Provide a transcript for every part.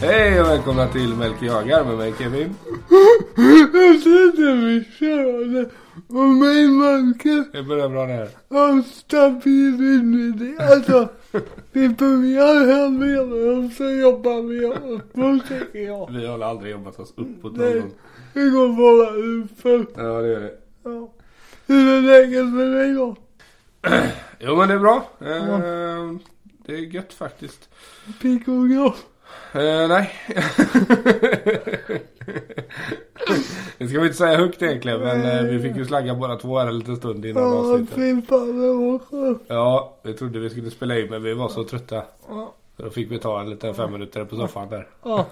Hej och välkomna till Melker jagar med mig Kevin. Jag sitter med kärle och min manke Det börjar bra det här. har stabil inuti. Alltså, vi börjar här med och så jobbar vi uppåt tycker jag. Vi har aldrig jobbat oss uppåt någon Nej, gång. vi går bara utför. Ja det gör det. Ja. Hur är läget med dig då? Jo men det är bra. Eh, Ja. Det är gött faktiskt. Pigg och glad? Eh, nej. det ska vi inte säga högt egentligen men eh, vi fick ju slagga båda två här en liten stund innan Ja, avsnittet. fy fan det var skönt. Ja, vi trodde vi skulle spela in men vi var så trötta. Ja, Så då fick vi ta en liten fem minuter på soffan där. ja.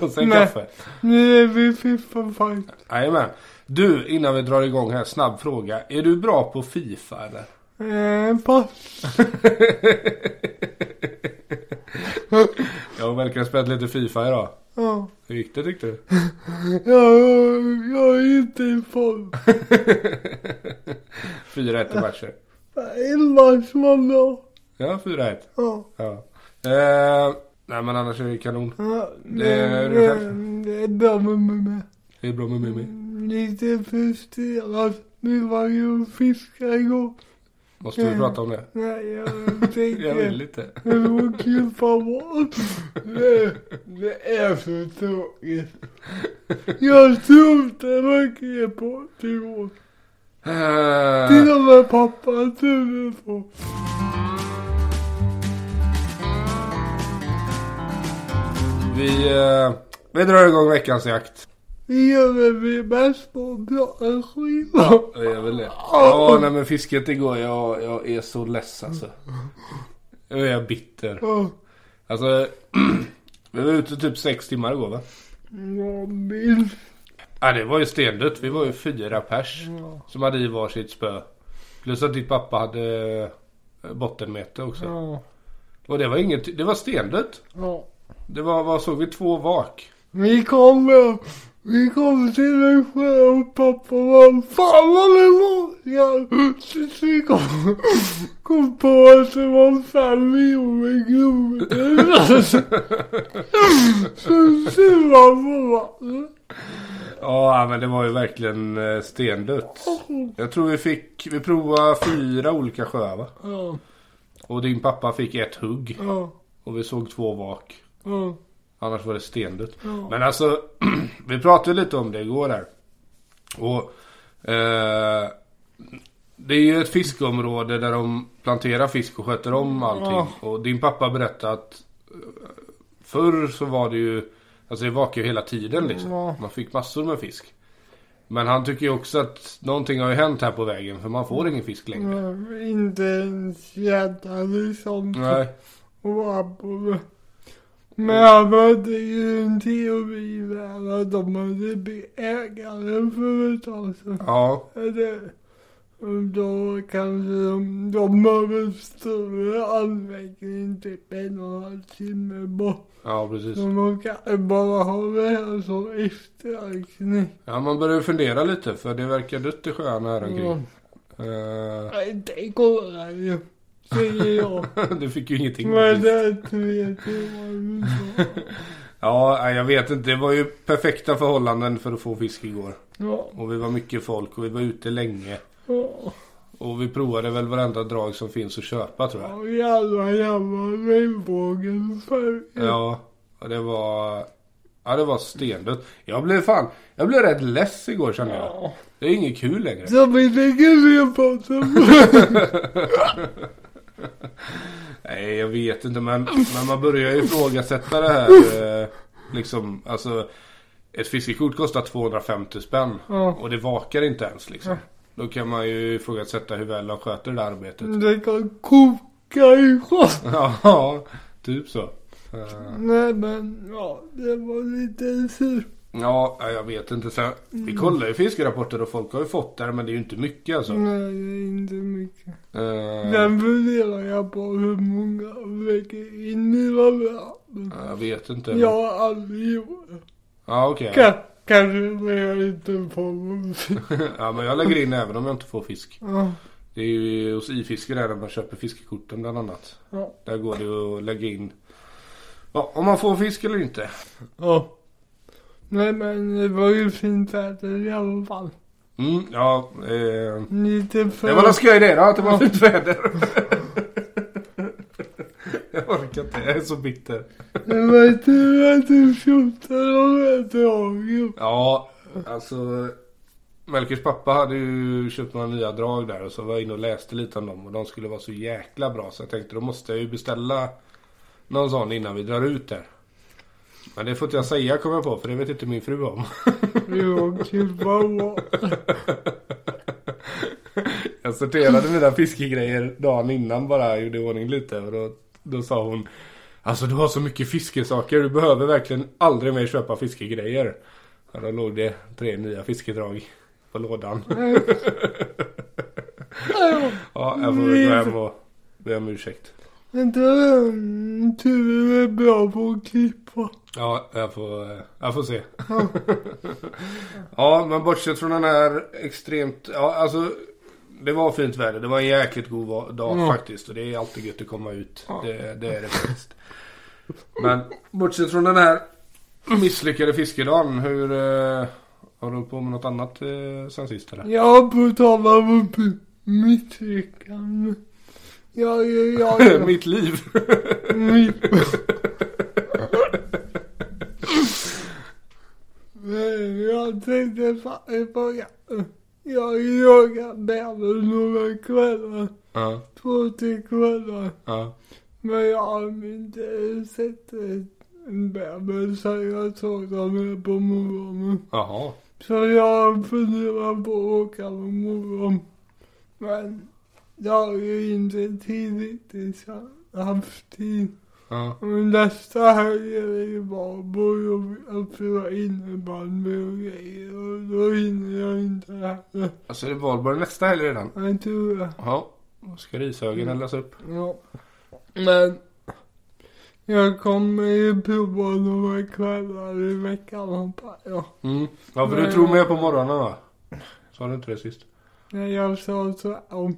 Och sen Nej. kaffe. Nu är vi fiffan fight. Jajamän. Du, innan vi drar igång här, snabb fråga. Är du bra på FIFA eller? Eh, pass. Jag och Melker har spelat lite FIFA idag. Ja. Hur gick det tyckte du? Jag, jag är inte i form. 4-1 i matcher. En match var bra. Ja, 4-1. Ja. Ja. Eh, nej men annars är det kanon. Ja, Det är men, du eh, själv. Det är bra med mig Det är bra med Mimmi. med. Lite frustrerad. Vi var ju och fiskade igår. Måste vi prata om det? Nej, jag Jag vill tänker... inte. Det var kul framåt. Det, det är så tråkigt. Jag trodde verkligen på det igår. Till Eh, och med pappa trodde på vi, eh, vi drar igång veckans jakt. Vi gör det vi bäst på bra skiva. Det är väl det. Ja, nej men fisket igår. Jag, jag är så less alltså. Nu är jag bitter. Ja, Alltså, vi var ute typ sex timmar igår va? jag minns. Ja det var ju stendött. Vi var ju fyra pers Ja. som hade i varsitt spö. Plus att ditt pappa hade eh, bottenmete också. Ja. Och det var inget, det var stendött. ja. Det var, vad såg vi, två vak? Vi kommer, vi kommer till Växjö och pappa var fan vad det var! Ja, tills vi kom, kom på att det var fem miljoner kronor. Så surrade på vattnet. Ja men det var ju verkligen eh, stendött. Jag tror vi fick, vi provade fyra olika sjöar va? Ja, Och din pappa fick ett hugg. ja, Och vi såg två vak. ja, Annars var det stendött. ja. Men alltså, vi pratade lite om det igår där. Och eh, det är ju ett fiskeområde där de planterar fisk och sköter om allting. Mm. Ja. Och din pappa berättade att eh, förr så var det ju, alltså det vakar ju hela tiden liksom. Ja. Man fick massor med fisk. Men han tycker ju också att någonting har ju hänt här på vägen för man får ingen fisk längre. Ja, Inte ens gädda liksom. Nej. och abborre. Men han hade ju en teori där att de hade blivit ägare för ett tag sedan. Ja. Eller, och då kanske de, de har en större anläggning typ en och en halv timme bort. Ja precis. Så de kanske bara har det här som efterakning. Ja man börjar ju fundera lite för det verkar dött i sjöarna här omkring. Ja, Mm. Eh, Det går ju, säger jag. Eh, du fick ju ingenting. Men det vet jag inte. Ja, nej, jag vet inte. Det var ju perfekta förhållanden för att få fisk igår. Ja, Och vi var mycket folk och vi var ute länge. ja. Och vi provade väl varenda drag som finns att köpa tror jag. Ja, jävla jävla regnbågen färg. Ja, och det var... Ja, det var stendött. Jag blev fan... Jag blev rätt less igår kände jag. Ja. Det är inget kul längre. Som inte kunde prata Nej, jag vet inte men, men man börjar ju ifrågasätta det här. Eh, liksom, alltså. Ett fiskekort kostar 250 spänn. Ja. Och det vakar inte ens liksom. Då kan man ju ifrågasätta hur väl de sköter det där arbetet. Det kan koka i sjön. Ja, typ så. Eh, Nej men, ja, det var lite sur. Ja, jag vet inte. Sen, vi kollar ju fiskerapporter och folk har ju fått där men det är ju inte mycket alltså. Nej, det är inte mycket. Eh, Sen funderar jag på hur många väcker in i varandra. Jag vet inte. Jag har aldrig gjort det. Ja, okej. Ka- Kanske när jag inte får någonting. ja, men jag lägger in även om jag inte får fisk. Ja, Det är ju hos iFiske där man köper fiskekorten bland annat. ja, Där går det att lägga in Ja, om man får fisk eller inte. Ja. Nej men det var ju fint väder i alla fall. Mm, ja. Eh, Lite för... det var en skoj det då, att det var Ja. fint väder. jag orkar inte, jag är så bitter. Det var tur att du fjortade om ett drag. Ja, alltså. Melkers pappa hade ju köpt några nya drag där och så var jag inne och läste lite om dem och de skulle vara så jäkla bra så jag tänkte då måste jag ju beställa någon sån innan vi drar ut där. Men det får inte jag säga kommer jag på för det vet inte min fru om. Vi åkte bara. Jag sorterade mina fiskegrejer dagen innan bara, gjorde i ordning lite och då, då sa hon Alltså du har så mycket fiskesaker, du behöver verkligen aldrig mer köpa fiskegrejer. Ja, då låg det tre nya fiskedrag på lådan. Ja, jag får väl gå hem och be om ursäkt. Men den turen är bra på att klippa. Ja, jag får, eh, jag får se. ja, men bortsett från den här extremt... Ja, alltså. Det var fint väder. Det var en jäkligt god va- dag Ja. faktiskt. Och det är alltid gött att komma ut. Ja. Det, det är det faktiskt. Men bortsett från den här misslyckade fiskedagen. Hur... Eh, har du hållit på med något annat eh, sen sist eller? Jag på tal om misslyckande. Jag, jag, jag, Mitt liv. mitt... Men jag tänkte faktiskt på... Jag jagade bäver några kvällar. ja, Två, tre kvällar. ja. Men jag har inte sett en bäver sen jag såg dem här på morgonen. Jaha. Så jag funderar på att åka på morgonen. Men jag har ju inte tid riktigt så jag har haft tid. Ja. Men nästa helg är det ju Valborg och jag spelar innebandy och grejer och då hinner jag inte heller. Alltså det är valborg nästa helg redan. Jag tror det. Ja. Då Ska rishögen Mm. eldas upp? Ja. Men jag kommer ju prova några kvällar i veckan hoppas jag. Mm. Ja, för du Nej. tror mer på morgonen va? Sa du inte det sist? När jag sa så om.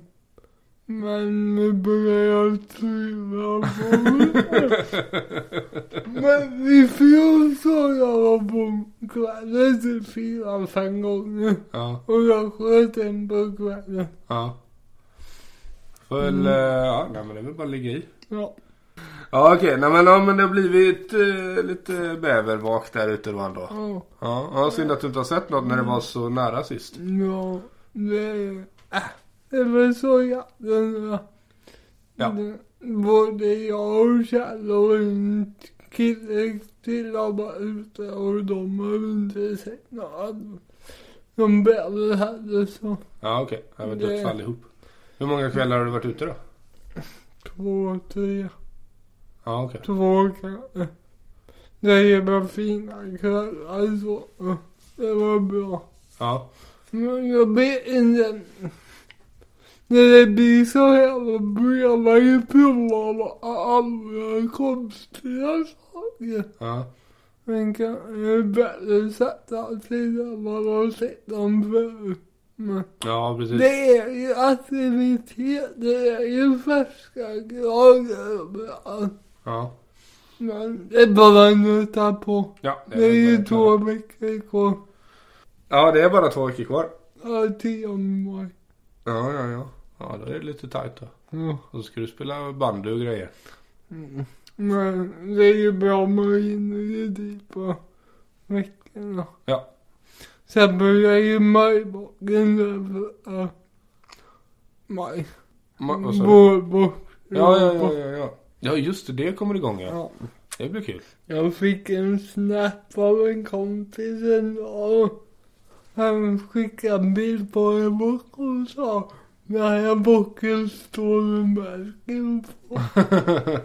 Men nu börjar jag tvivla på mig. Men i fjol sa jag var på kvällen till typ fyra, fem gånger. Ja. Och jag sköt en på kvällen. Ja. Föll, Mm. eh, ja, nej men det är väl bara att ligga i. Ja. Ja okej, nej men, ja, men det har blivit eh, lite bävervak där ute då ändå. ja. Ja, ja, synd att du inte har sett något Mm. när det var så nära sist. Ja, det, äh, det var så jakten var. Ja. Det- Både jag och Kjell och en kille till var ute och de har inte sett något. De bäver hade så Ja okej, det var Det- dött allihop. Hur många kvällar har du varit ute då? två, tre, Ja okej. två kanske. Det var fina kvällar så. Det var bra. Ja. Men jag vet inte. När det blir så här då börjar man ju prova andra konstiga saker. Ja. Man kan ju bättre sätta sig där man har sett dem förut. Men Ja precis. det är ju aktivitet, det är ju färska grader överallt. Ja. Men det är bara att nöta på. Ja, det är Det är väl ju bara- två veckor kvar. Ja det är bara två veckor kvar. Ja, tio maj. Ja ja ja. Ja då är det lite tajt då. Ja. Och så ska du spela bandy och grejer. Mm. Men det är ju bra om man hinner ju dit på veckorna. Ja. Sen börjar ju majbocken där för att... Maj. Ma- och så- Vårbock. Ja, ja, ja, ja, ja. Ja, just det. Det kommer igång ja. Ja. Det blir kul. Jag fick en snap av en kompis en dag. Han skickade en bild på en bock och sa när jag bocken står med märken på.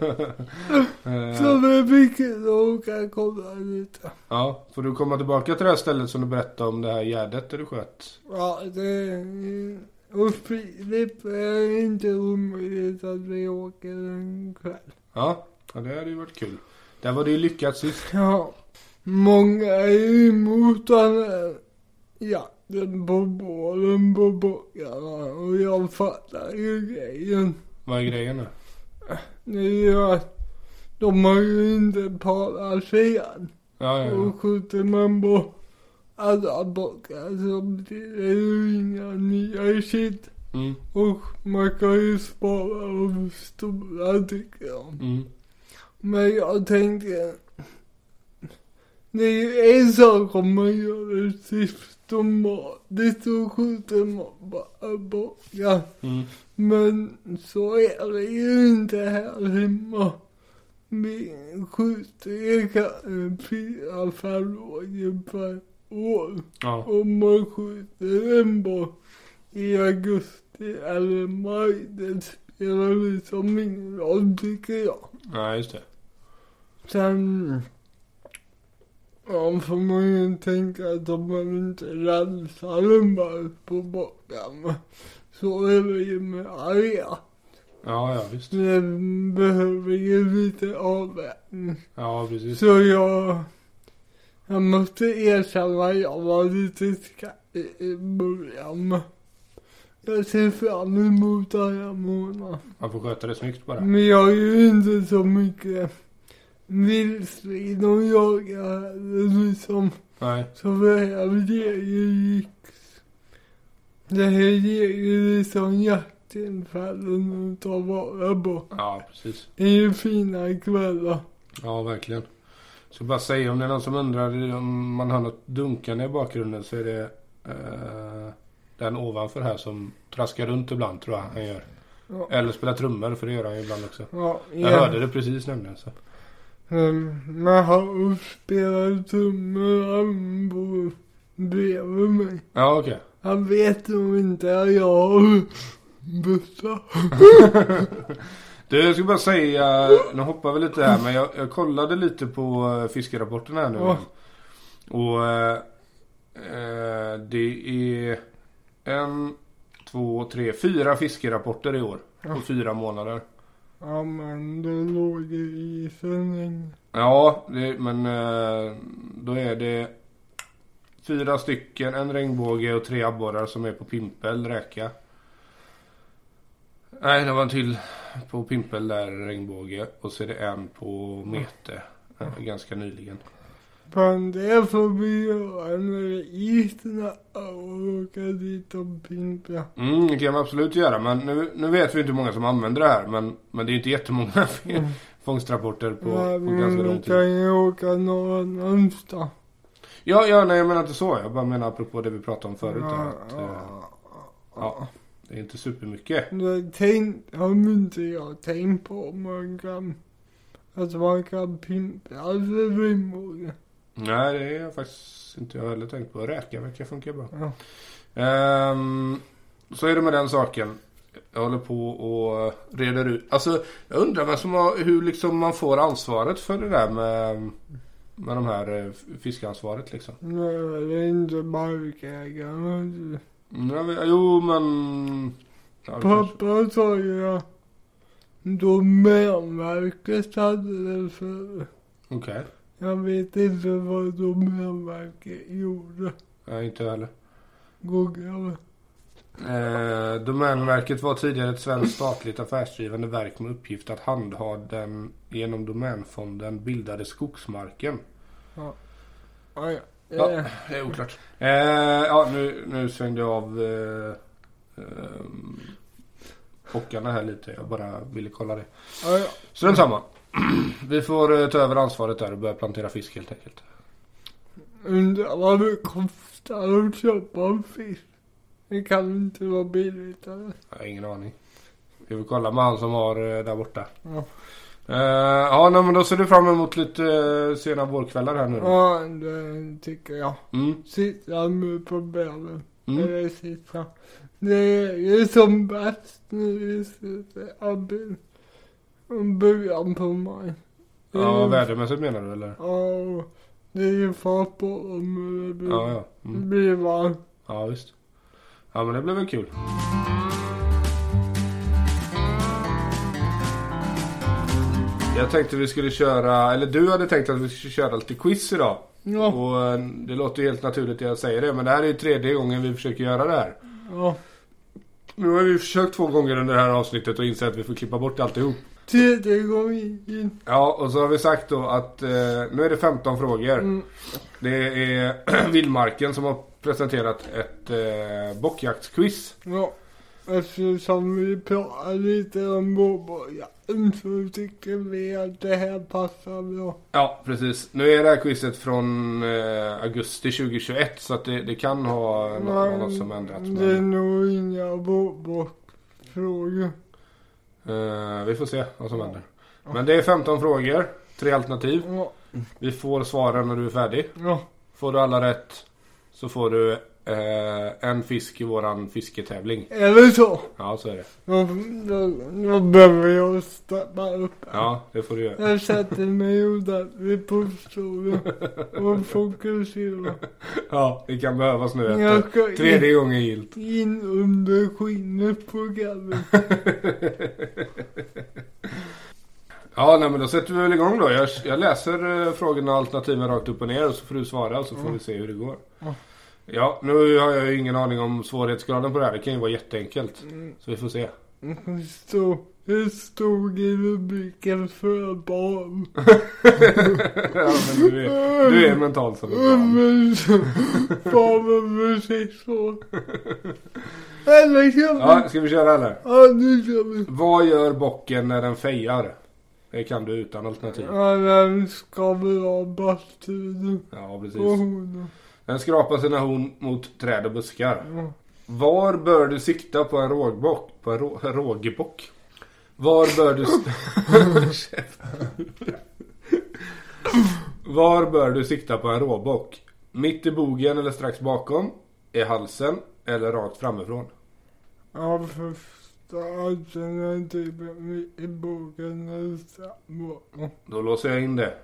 Så Eh, det fick jag åka och kolla lite. ja, får du komma tillbaka till det här stället som du berättade om det här gärdet där du sköt? Ja, det... Och Filip är inte omöjligt att vi åker en kväll. Ja, ja det hade ju varit kul. Där var det ju lyckat sist. Ja. Många är ju emot den här jakten på bålen på bockarna och jag fattar ju grejen. Vad är grejen nu? Det är ju att De har ju inte parasit. Ja, ja, ja. Och skjuter man på alla bockar så blir det ju inga nya shit. Mm, Och man kan ju spara de stora tycker jag. mm. Men jag tänkte... Det är ju en sak om man gör det systematiskt och skjuter man bara bockar. Mm. Men så är det ju inte här hemma. Vi skjuter ju kanske fyra, fem rådjur per år. Ja. Om man skjuter en bock i augusti eller maj, det spelar liksom ingen roll tycker jag. Nej, just det. Sen ja, får man ju tänka att om man inte rensar den bara på bockarna så är det ju med arga. Ja, ja, visst. Det behöver ju lite avvägning. Ja, precis. Så jag... Jag måste erkänna att jag var lite skraj i början. Jag ser fram emot alla månader. Man får sköta det snyggt bara. Men jag är ju inte så mycket vildsvin och jagar heller liksom. Nej. Så det här ger ju gigs. Det här ger ju liksom hjärtinfällen att ta vara på. Ja, precis. Det är ju fina kvällar. Ja, verkligen. Så bara säga om det är någon som undrar om man hör något dunkande i bakgrunden så är det eh, den ovanför här som traskar runt ibland tror jag han gör. Ja. Eller spelar trummor för det gör han ju ibland också. Ja, Jag hörde det precis nämligen. Så. Men man har spelat trummor han bor bredvid mig. Ja, okej. Han vet nog inte att jag har bussar. Du, jag ska bara säga, nu hoppar vi lite här men jag, jag kollade lite på eh, fiskerapporten här nu. Ja. Och eh, eh, det är en, två, tre, fyra fiskerapporter i år. Ja. På fyra månader. Ja men det låg i isen länge. Ja, det, men eh, då är det fyra stycken, en regnbåge och tre abborrar som är på pimpel, räka. Nej, det var en till på pimpel där, regnbåge. Och så är det en på mete, eh, ganska nyligen. Fan det får vi göra när det är is nära och åka dit och pimpla. Mm, det kan man absolut göra. Men nu, nu vet vi inte hur många som använder det här. Men, men det är ju inte jättemånga Mm. fångstrapporter på, Nej, på ganska men lång vi tid. kan ju åka någon annanstans. Ja, ja, nej jag menar inte så. Jag bara menar apropå det vi pratade om förut. där, att, eh, ja, ja. det är inte supermycket. Det tänkte om inte jag tänkt på om man kan, att man kan pimpla för frimorgen. Nej, det har jag faktiskt inte jag heller tänkt på. Räka verkar funka bra. Ja. Ehm, så är det med den saken. Jag håller på och reder ut. Alltså, jag undrar vem som har, hur liksom man får ansvaret för det där med, med de här eh, fiskansvaret liksom. Nej, det är inte markägaren. Mm, jag vet, jo, men... Ja, det kanske- Pappa sa ju att Domänverket hade det för Okej. Jag vet inte vad Domänverket gjorde. Nej, inte jag heller. Googlade. Eh, Domänverket var tidigare ett svenskt statligt affärsdrivande verk med uppgift att handha den genom Domänfonden bildade skogsmarken. Ja, ja. Ja, Eh, det är oklart. Eh, ja, nu, nu svängde jag av eh, eh, pockarna här lite. Jag bara ville kolla det. ja, ja. Så den samma. Vi får eh, ta över ansvaret där och börja plantera fisk helt enkelt. Undrar vad det kostar att köpa en fisk. Det kan inte vara billigt eller? Jag har ingen aning. Vi får kolla med han som har eh, där borta. Ja. Eh, ja, nej, men då ser du fram emot lite eh, sena vårkvällar här nu då. Ja, det tycker jag. Mm, Sitta nu på bären. mm. Eller sitta. Det är ju som bäst nu i slutet av april. Och början på maj. Det är Ja, ju- vädermässigt menar du eller? Ja, och det är ju fart på dem. och Det blir, Ja, ja. Mm. blir varmt. Ja, visst. Ja, men det blev väl kul. Jag tänkte vi skulle köra, eller du hade tänkt att vi skulle köra lite quiz idag. Ja, Och eh, det låter ju helt naturligt att jag säger det, men det här är ju tredje gången vi försöker göra det här. ja. Nu har vi försökt två gånger under det här avsnittet och insett att vi får klippa bort alltihop. Tiden kom in. Ja, och så har vi sagt då att eh, nu är det 15 frågor. Mm. Det är Vildmarken som har presenterat ett eh, bockjaktsquiz. Ja, eftersom vi pratar lite om bobojakten så tycker vi att det här passar bra. Ja, precis. Nu är det här quizet från eh, augusti 2021 så att det, det kan ha Mm. nå- ha något som ändrats. Det är Men, nog inga bobokfrågor. eh, vi får se vad som händer. Men det är 15 frågor, tre alternativ. Ja, Vi får svaren när du är färdig. ja, Får du alla rätt så får du eh, en fisk i våran fisketävling. eller så. Ja, så är det. Då, då, då behöver jag steppa upp. Ja, det får du göra. Jag sätter mig ordentligt på stolen och fokuserar. Ja, det kan behövas nu Jag efter ska in, tredje gången gillt. in under skinnet på galgen. Ja, nej men då sätter vi väl igång då. Jag, jag läser eh, frågorna och alternativen rakt upp och ner och så får du svara och så får vi se hur det går. Ja. Ja, nu har jag ju ingen aning om svårighetsgraden på det här. Det kan ju vara jätteenkelt. Mm. Så vi får se. Det stod, det stod i rubriken för barn. ja, men du, är, du är mental som ett barn. Men så, Barnen precis så. Eller kör vi? Ja, ska vi köra eller? Ja, nu kör vi. Vad gör bocken när den fejar? Det kan du utan alternativ. Ja, den ska väl ha bastun Ja, och precis. honom. Den skrapar sina horn mot träd och buskar. Ja. Var bör du sikta på en rågbock? På en rå, rågbock? Var bör du... Käft. Var bör du sikta på en råbock? Mitt i bogen eller strax bakom? I halsen? Eller rakt framifrån? Ja, första alternativet mitt typ i boken är samma. Då låser jag in det.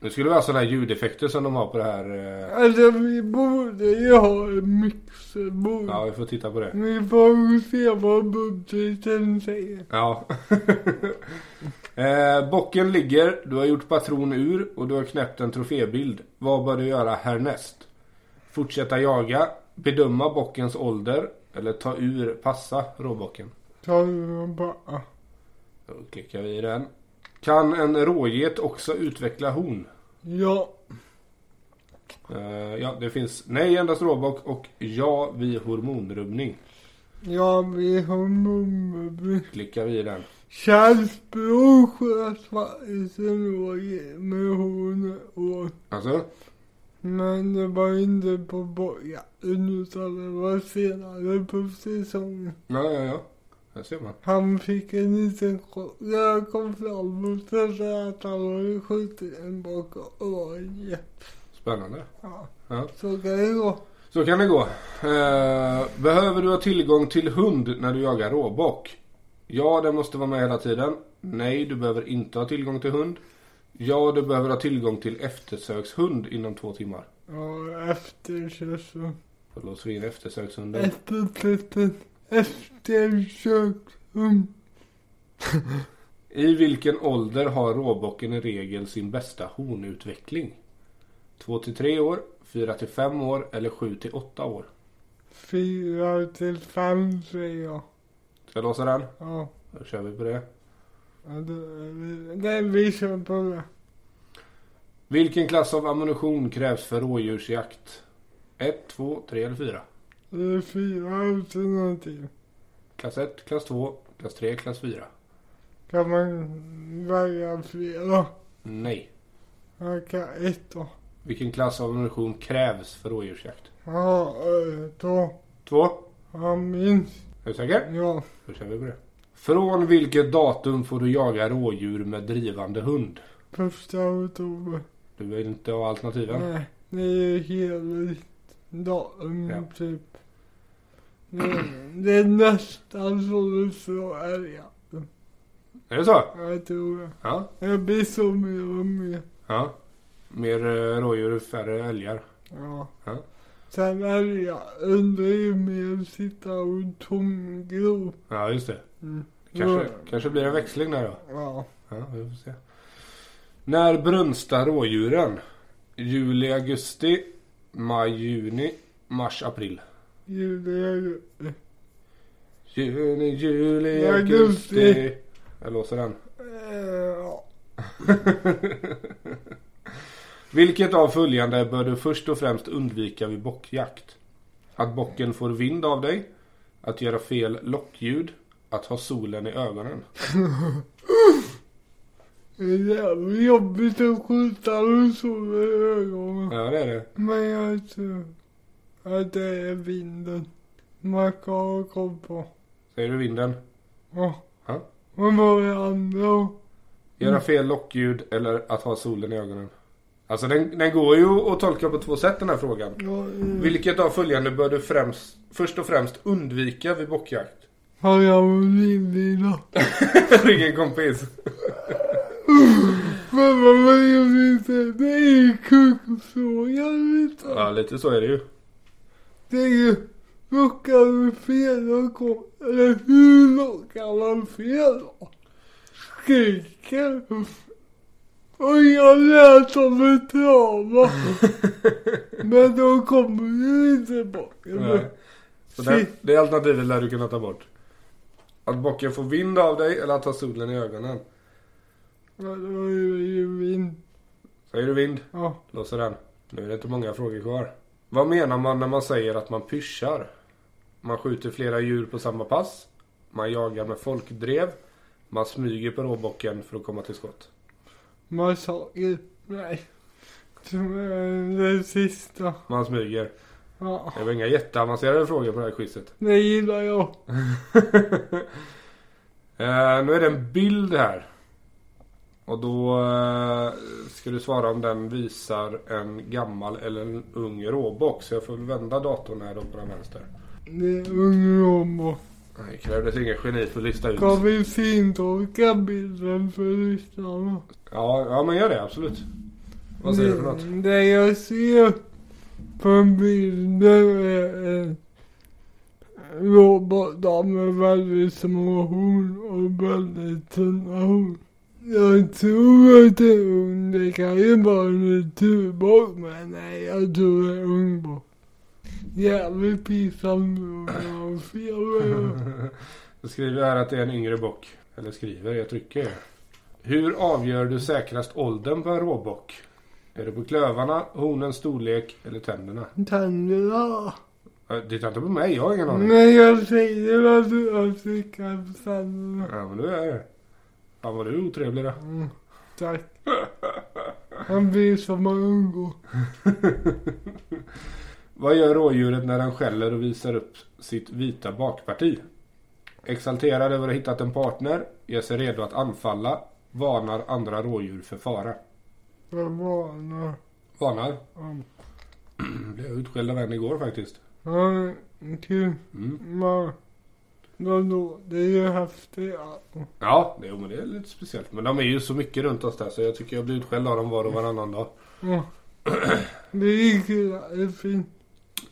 Nu skulle vi ha sådana här ljudeffekter som de har på det här... eh, Alltså, vi borde ju ha en mixerbord. Ja, vi får titta på det. Vi får se vad budgeten säger. Ja. eh, bocken ligger, du har gjort patron ur och du har knäppt en trofébild. Vad bör du göra härnäst? Fortsätta jaga, bedöma bockens ålder eller ta ur, passa råbocken. Ta det bara. Då klickar vi i den. Kan en råget också utveckla horn? Ja, Eh, ja, det finns nej endast råbock och ja vid hormonrubbning. ja vi har mummi. Klickar vi i den. Kärrs bror sköt faktiskt en råge med hon och Alltså? Men det var inte på bojan utan det var senare på säsongen. Ja, ja, ja. Där ser man. Han fick en liten chock när jag kom fram och trodde att han hade skjutit en bak och var en jätte. Spännande. Ja, Ja. så kan det gå. Så kan det gå. Eh, behöver du ha tillgång till hund när du jagar råbock? Ja, den måste vara med hela tiden. Nej, du behöver inte ha tillgång till hund. Ja, du behöver ha tillgång till eftersökshund inom två timmar. Ja, efter säsongen. Då låser vi in eftersökshunden. Mm. Efterfesten. Eftersökshund. I vilken ålder har råbocken i regel sin bästa hornutveckling? 2 till 3 år, 4 till 5 år eller 7 till 8 år? Fyra till fem säger jag. Ska jag låsa den? Ja. Då kör vi på det. ja, det- det- Det är vi som på det. Vilken klass av ammunition krävs för rådjursjakt? 1, 2, 3 eller 4? Det är fyra alternativ. Klass 1, klass 2, klass 3, klass 4. Kan man välja flera? Nej. Jag kan ett då. Vilken klass av ammunition krävs för rådjursjakt? Ja, eh, då. 2. Ja, minst. Är du säker? Ja. Då kör vi på det. Från vilket datum får du jaga rådjur med drivande hund? Första oktober. Du vill inte ha alternativen? Nej, det är hela dagen Ja. typ. Det, det är nästan så det så är jag. Är det så? Jag tror det. Ja. Jag blir så mer och mer. ja. Mer eh, rådjur, färre älgar. Ja. Ja. Sen är jag undrar ju mer att sitta och tomgro. Ja, just det. Mm. Kanske, Ja. kanske blir det en växling där då. Ja. Ja, vi får se. När brunstar rådjuren? Juli, augusti, maj, juni, mars, april. Juli, augusti. Juni, juli, Augusti. augusti. Jag låser den. Eh, Vilket av följande bör du först och främst undvika vid bockjakt? Att bocken får vind av dig? Att göra fel lockljud? Att ha solen i ögonen? Det är jävligt jobbigt att skjuta med solen i ögonen. Ja, det är det. Men jag tror att det är vinden man ska ha koll på. Säger du vinden? Ja. Ja. Men vad är det andra? Göra fel lockljud eller att ha solen i ögonen? Alltså den, den går ju att tolka på två sätt den här frågan. Ja, eh, Vilket av följande bör du främst, först och främst undvika vid bockjakt? Har jag olivvila? Ring en kompis. Men vad man gör inte, det är ju kuggfrågan lite. Ja, lite så är det ju. Det är ju, lockar du fel någon gång? Eller hur lockar man fel då? Skriker. Och jag lät som en trava. Men de kommer ju inte bort. Nej. Så den, det alternativet lär du kunna ta bort. Att bocken får vind av dig eller att ha solen i ögonen. Men det var ju min... Säger du vind, Ja. låser den. Nu är det inte många frågor kvar. Vad menar man när man säger att man pyschar? Man skjuter flera djur på samma pass. Man jagar med folkdrev. Man smyger på råbocken för att komma till skott. Massager. Nej. Som är Den sista. Man smyger. Ja. Det var inga jätteavancerade frågor på det här quizet. Det gillar jag. Eh, nu är det en bild här. Och då eh, ska du svara om den visar en gammal eller en ung råbock. Så jag får väl vända datorn här då på den vänster. Det är ungdomar. Nej, Det krävdes ingen geni för att lista ut. Ska vi fintolka bilden för lyssnarna? Ja, ja men gör det absolut. Vad säger du för något? Det- Det jag ser på bilden är en robotar med väldigt små horn och väldigt tunna horn. Jag tror att det är ung. Det kan ju vara en naturbock, men nej, jag tror det är ung bock. Jävligt pinsamt om jag har fel. Jag skriver här att det är en yngre bock. Eller skriver, jag trycker. Hur avgör du säkrast åldern på en råbock? Är det på klövarna, hornens storlek eller tänderna? Tänderna. Äh, Titta inte på mig, jag har ingen aning. Men jag säger att du har slickat tänderna. Ja men du är det. Fan vad du är otrevlig då. Mm, tack. Han blir som man umgås. Vad gör rådjuret när den skäller och visar upp sitt vita bakparti? Exalterad över att ha hittat en partner, ger sig redo att anfalla, varnar andra rådjur för fara. Jag varnar. Varnar? om- Blev jag utskälld av en igår faktiskt. Han till Mm. man. Vadå? Det är ju häftigt. alltså. Ja, det, jo, men det är lite speciellt. Men de är ju så mycket runt oss där så jag tycker jag blir utskälld av dem var och varannan dag. Ja. Det är kul att det finns.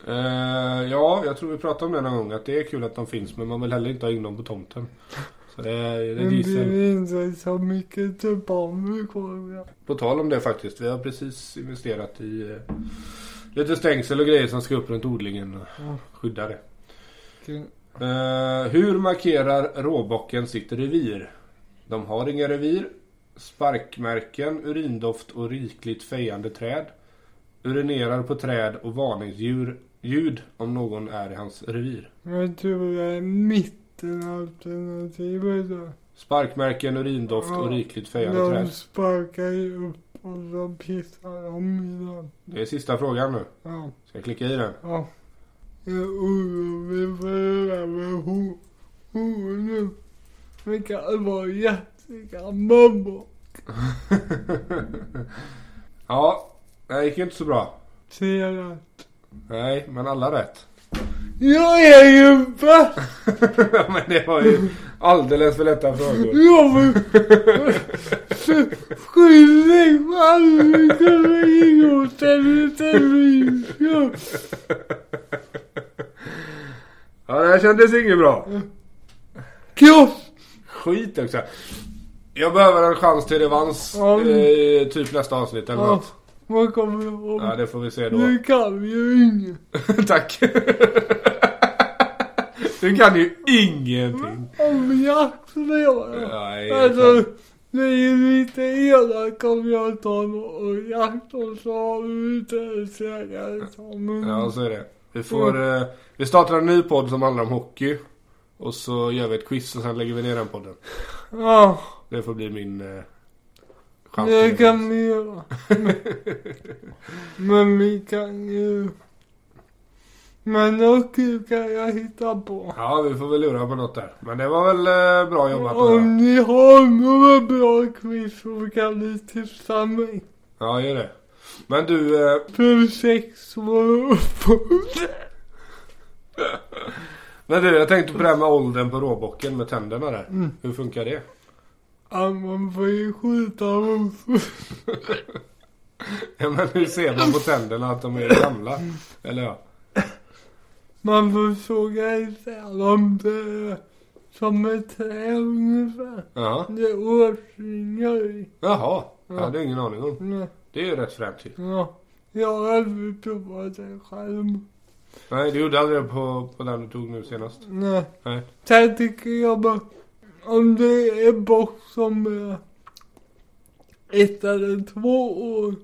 Eh, ja, jag tror vi pratade om det någon gång att det är kul att de finns men man vill heller inte ha in dem på tomten. Så det är, det är Men gissel. det är inte så mycket tulpaner kvar. ja. På tal om det faktiskt. Vi har precis investerat i eh, lite stängsel och grejer som ska upp runt odlingen och Ja, skydda det. kul. Eh, hur markerar råbocken sitt revir? De har inga revir. Sparkmärken, urindoft och rikligt fejande träd. Urinerar på träd och varningsljud ljud om någon är i hans revir. Jag tror det är mittenalternativet. då. Sparkmärken, urindoft och rikligt fejande De träd. sparkar ju upp och så pissar de i den. Det är sista frågan nu. Ja. Ska jag klicka i den? Ja. Jag är orolig för det där med hon. Hon nu. Det kan vara jättegammal bok. ja, det gick ju inte så bra. Ser att Nej, men alla rätt. jag är ju bäst! men det var ju alldeles för lätta frågor. Jag var skyldig själv. Jag kunde inte lite mysig. Ja, det här kändes inget bra. Kross! Skit också. Jag behöver en chans till revansch. Ja. Eh, typ nästa avsnitt eller Ja, något. Vad kommer jag ihåg? Ja, det får vi se då. Nu kan ju inget. Tack. du kan ju ingenting. Mm. Om jakt så gör jag. Nej, Alltså, ni är lite elaka om jag tar någon jakt och så har vi inte ens jägarexamen. Ja, så är det. Vi får... eh, vi startar en ny podd som handlar om hockey. Och så gör vi ett quiz och sen lägger vi ner den podden. Ja, Det får bli min eh, chans. det till kan ni göra. Men- Men vi kan ju... Men hockey kan jag hitta på. Ja, vi får väl lura på något där. Men det var väl eh, bra jobbat. Då. Om ni har några bra quiz så kan ni tipsa mig. Ja, gör det. Men du, eh, För sex år uppåt. men du, jag tänkte på det här med åldern på råbocken med tänderna där. Mm. Hur funkar det? Ja, man får ju skjuta dem. Ja, men hur ser man på tänderna att de är gamla? Eller ja. Man får såga isär dem det som ett träd ungefär. Jaha. Det är årsringar i. Jaha. Jag hade ingen aning om. Nej, Det är ju rätt fränt ju. Ja, jag har aldrig provat det själv. Nej, du gjorde aldrig det på, på den du tog nu senast. Nej. Nej. Sen tycker jag bara, om det är bock som är ett eller två år,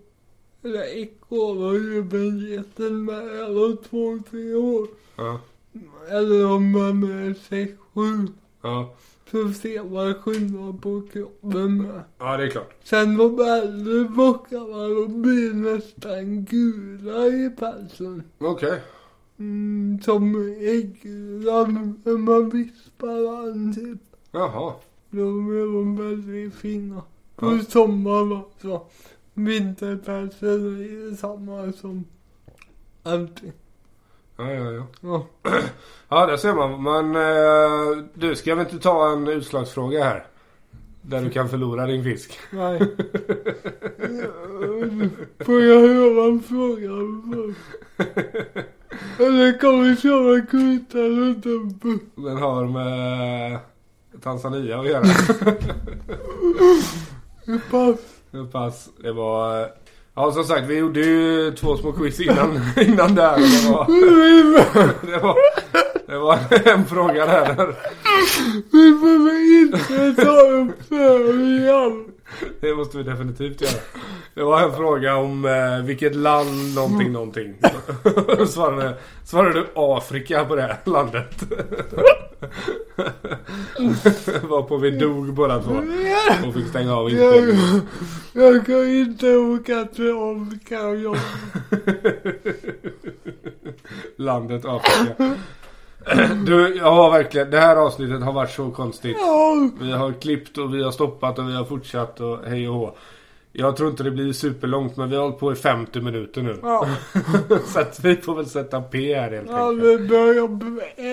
eller ekorre och ljudbiljetten med över två, tre år, Ja. eller om man är sex, sju, Ja. så ser man skillnad på kroppen med. Ja, det är klart. Sen de äldre bockarna, de blir nästan gula i pälsen. Okej. Mm, som äggula när man vispar an typ. Jaha. De är de väldigt fina. På Ja. sommaren också. Vinterpälsen är samma som alltid. Ja, ja, ja. Ja. Ja, där ser man. Men eh, du, ska vi inte ta en utslagsfråga här? Där du kan förlora din fisk. Nej. Får jag höra en fråga? först? Eller kan vi köra kvittan och dumpen? Den har med Tanzania att göra. Pass. Pass. Det var... eh, Ja, som sagt, vi gjorde ju två små quiz innan, innan där. Det var, det, var, det var en fråga där. Vi behöver inte ta upp det här igen. Det måste vi definitivt göra. Det var en fråga om eh, vilket land någonting någonting. svarade, svarade du Afrika på det här landet? Varpå vi dog båda två. Och fick stänga av Jag, inspelningen. jag kan inte åka till Afrika och jobba. Landet Afrika. Du, jag har verkligen, det här avsnittet har varit så konstigt. Ja. Vi har klippt och vi har stoppat och vi har fortsatt och hej och hå. Jag tror inte det blir superlångt men vi har hållit på i 50 minuter nu. Ja. Så att vi får väl sätta P här helt Ja, enkelt. vi börjar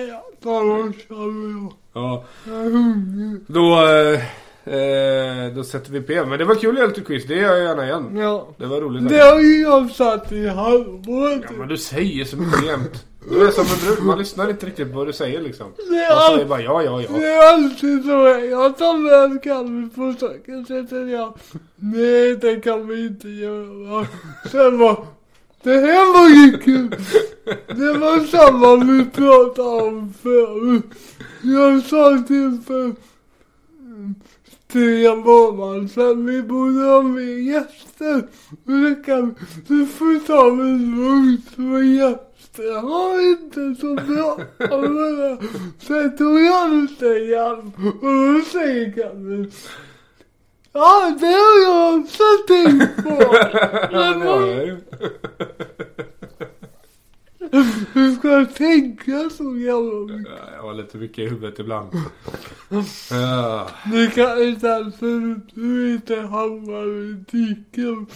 äta och känner jag. Ja, Jag är hungrig. då, eh, eh, då sätter vi P. Men det var kul att göra lite quiz, det gör jag gärna igen. Ja. Det var roligt. Det har ju jag satt i halvåret. Ja, men du säger så mycket jämt. Du är som en brud, man lyssnar inte riktigt på vad du säger liksom. Det är, Man säger all, bara ja, ja, ja. det är alltid så här. Jag tar med en kaffe på saken, sen säger jag nej det kan vi inte göra. Sen bara, det här var ju kul. Det var samma vi pratade om förut. Jag sa till för mm, tre månader sedan, vi borde ha med gäster. Men det kan, du får ta det lugnt med gäster. Ha inte så bra. Sen tog jag ut det igen. Och då säger Kalle, ja det har jag också tänkt på. Ja, det har jag ju. Du ska tänka så jävla mycket. Ja, Jag har lite mycket i huvudet ibland. Ja. Det kanske är därför du inte hamnar i diken.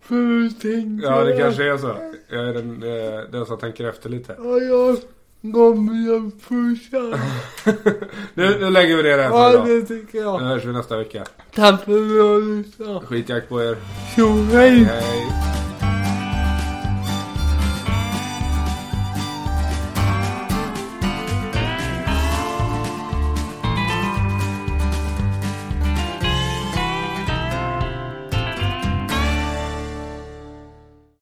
För du tänker... Ja, det kanske är så. Jag är den, eh, den som tänker efter lite. Ja, jag kommer att pusha. Nu, nu lägger vi ner det här för Ja, idag. det tycker Nu jag. hörs vi nästa vecka. Tack för att du har lyssnat. Skitjakt på er. Tjo, hej! Hej.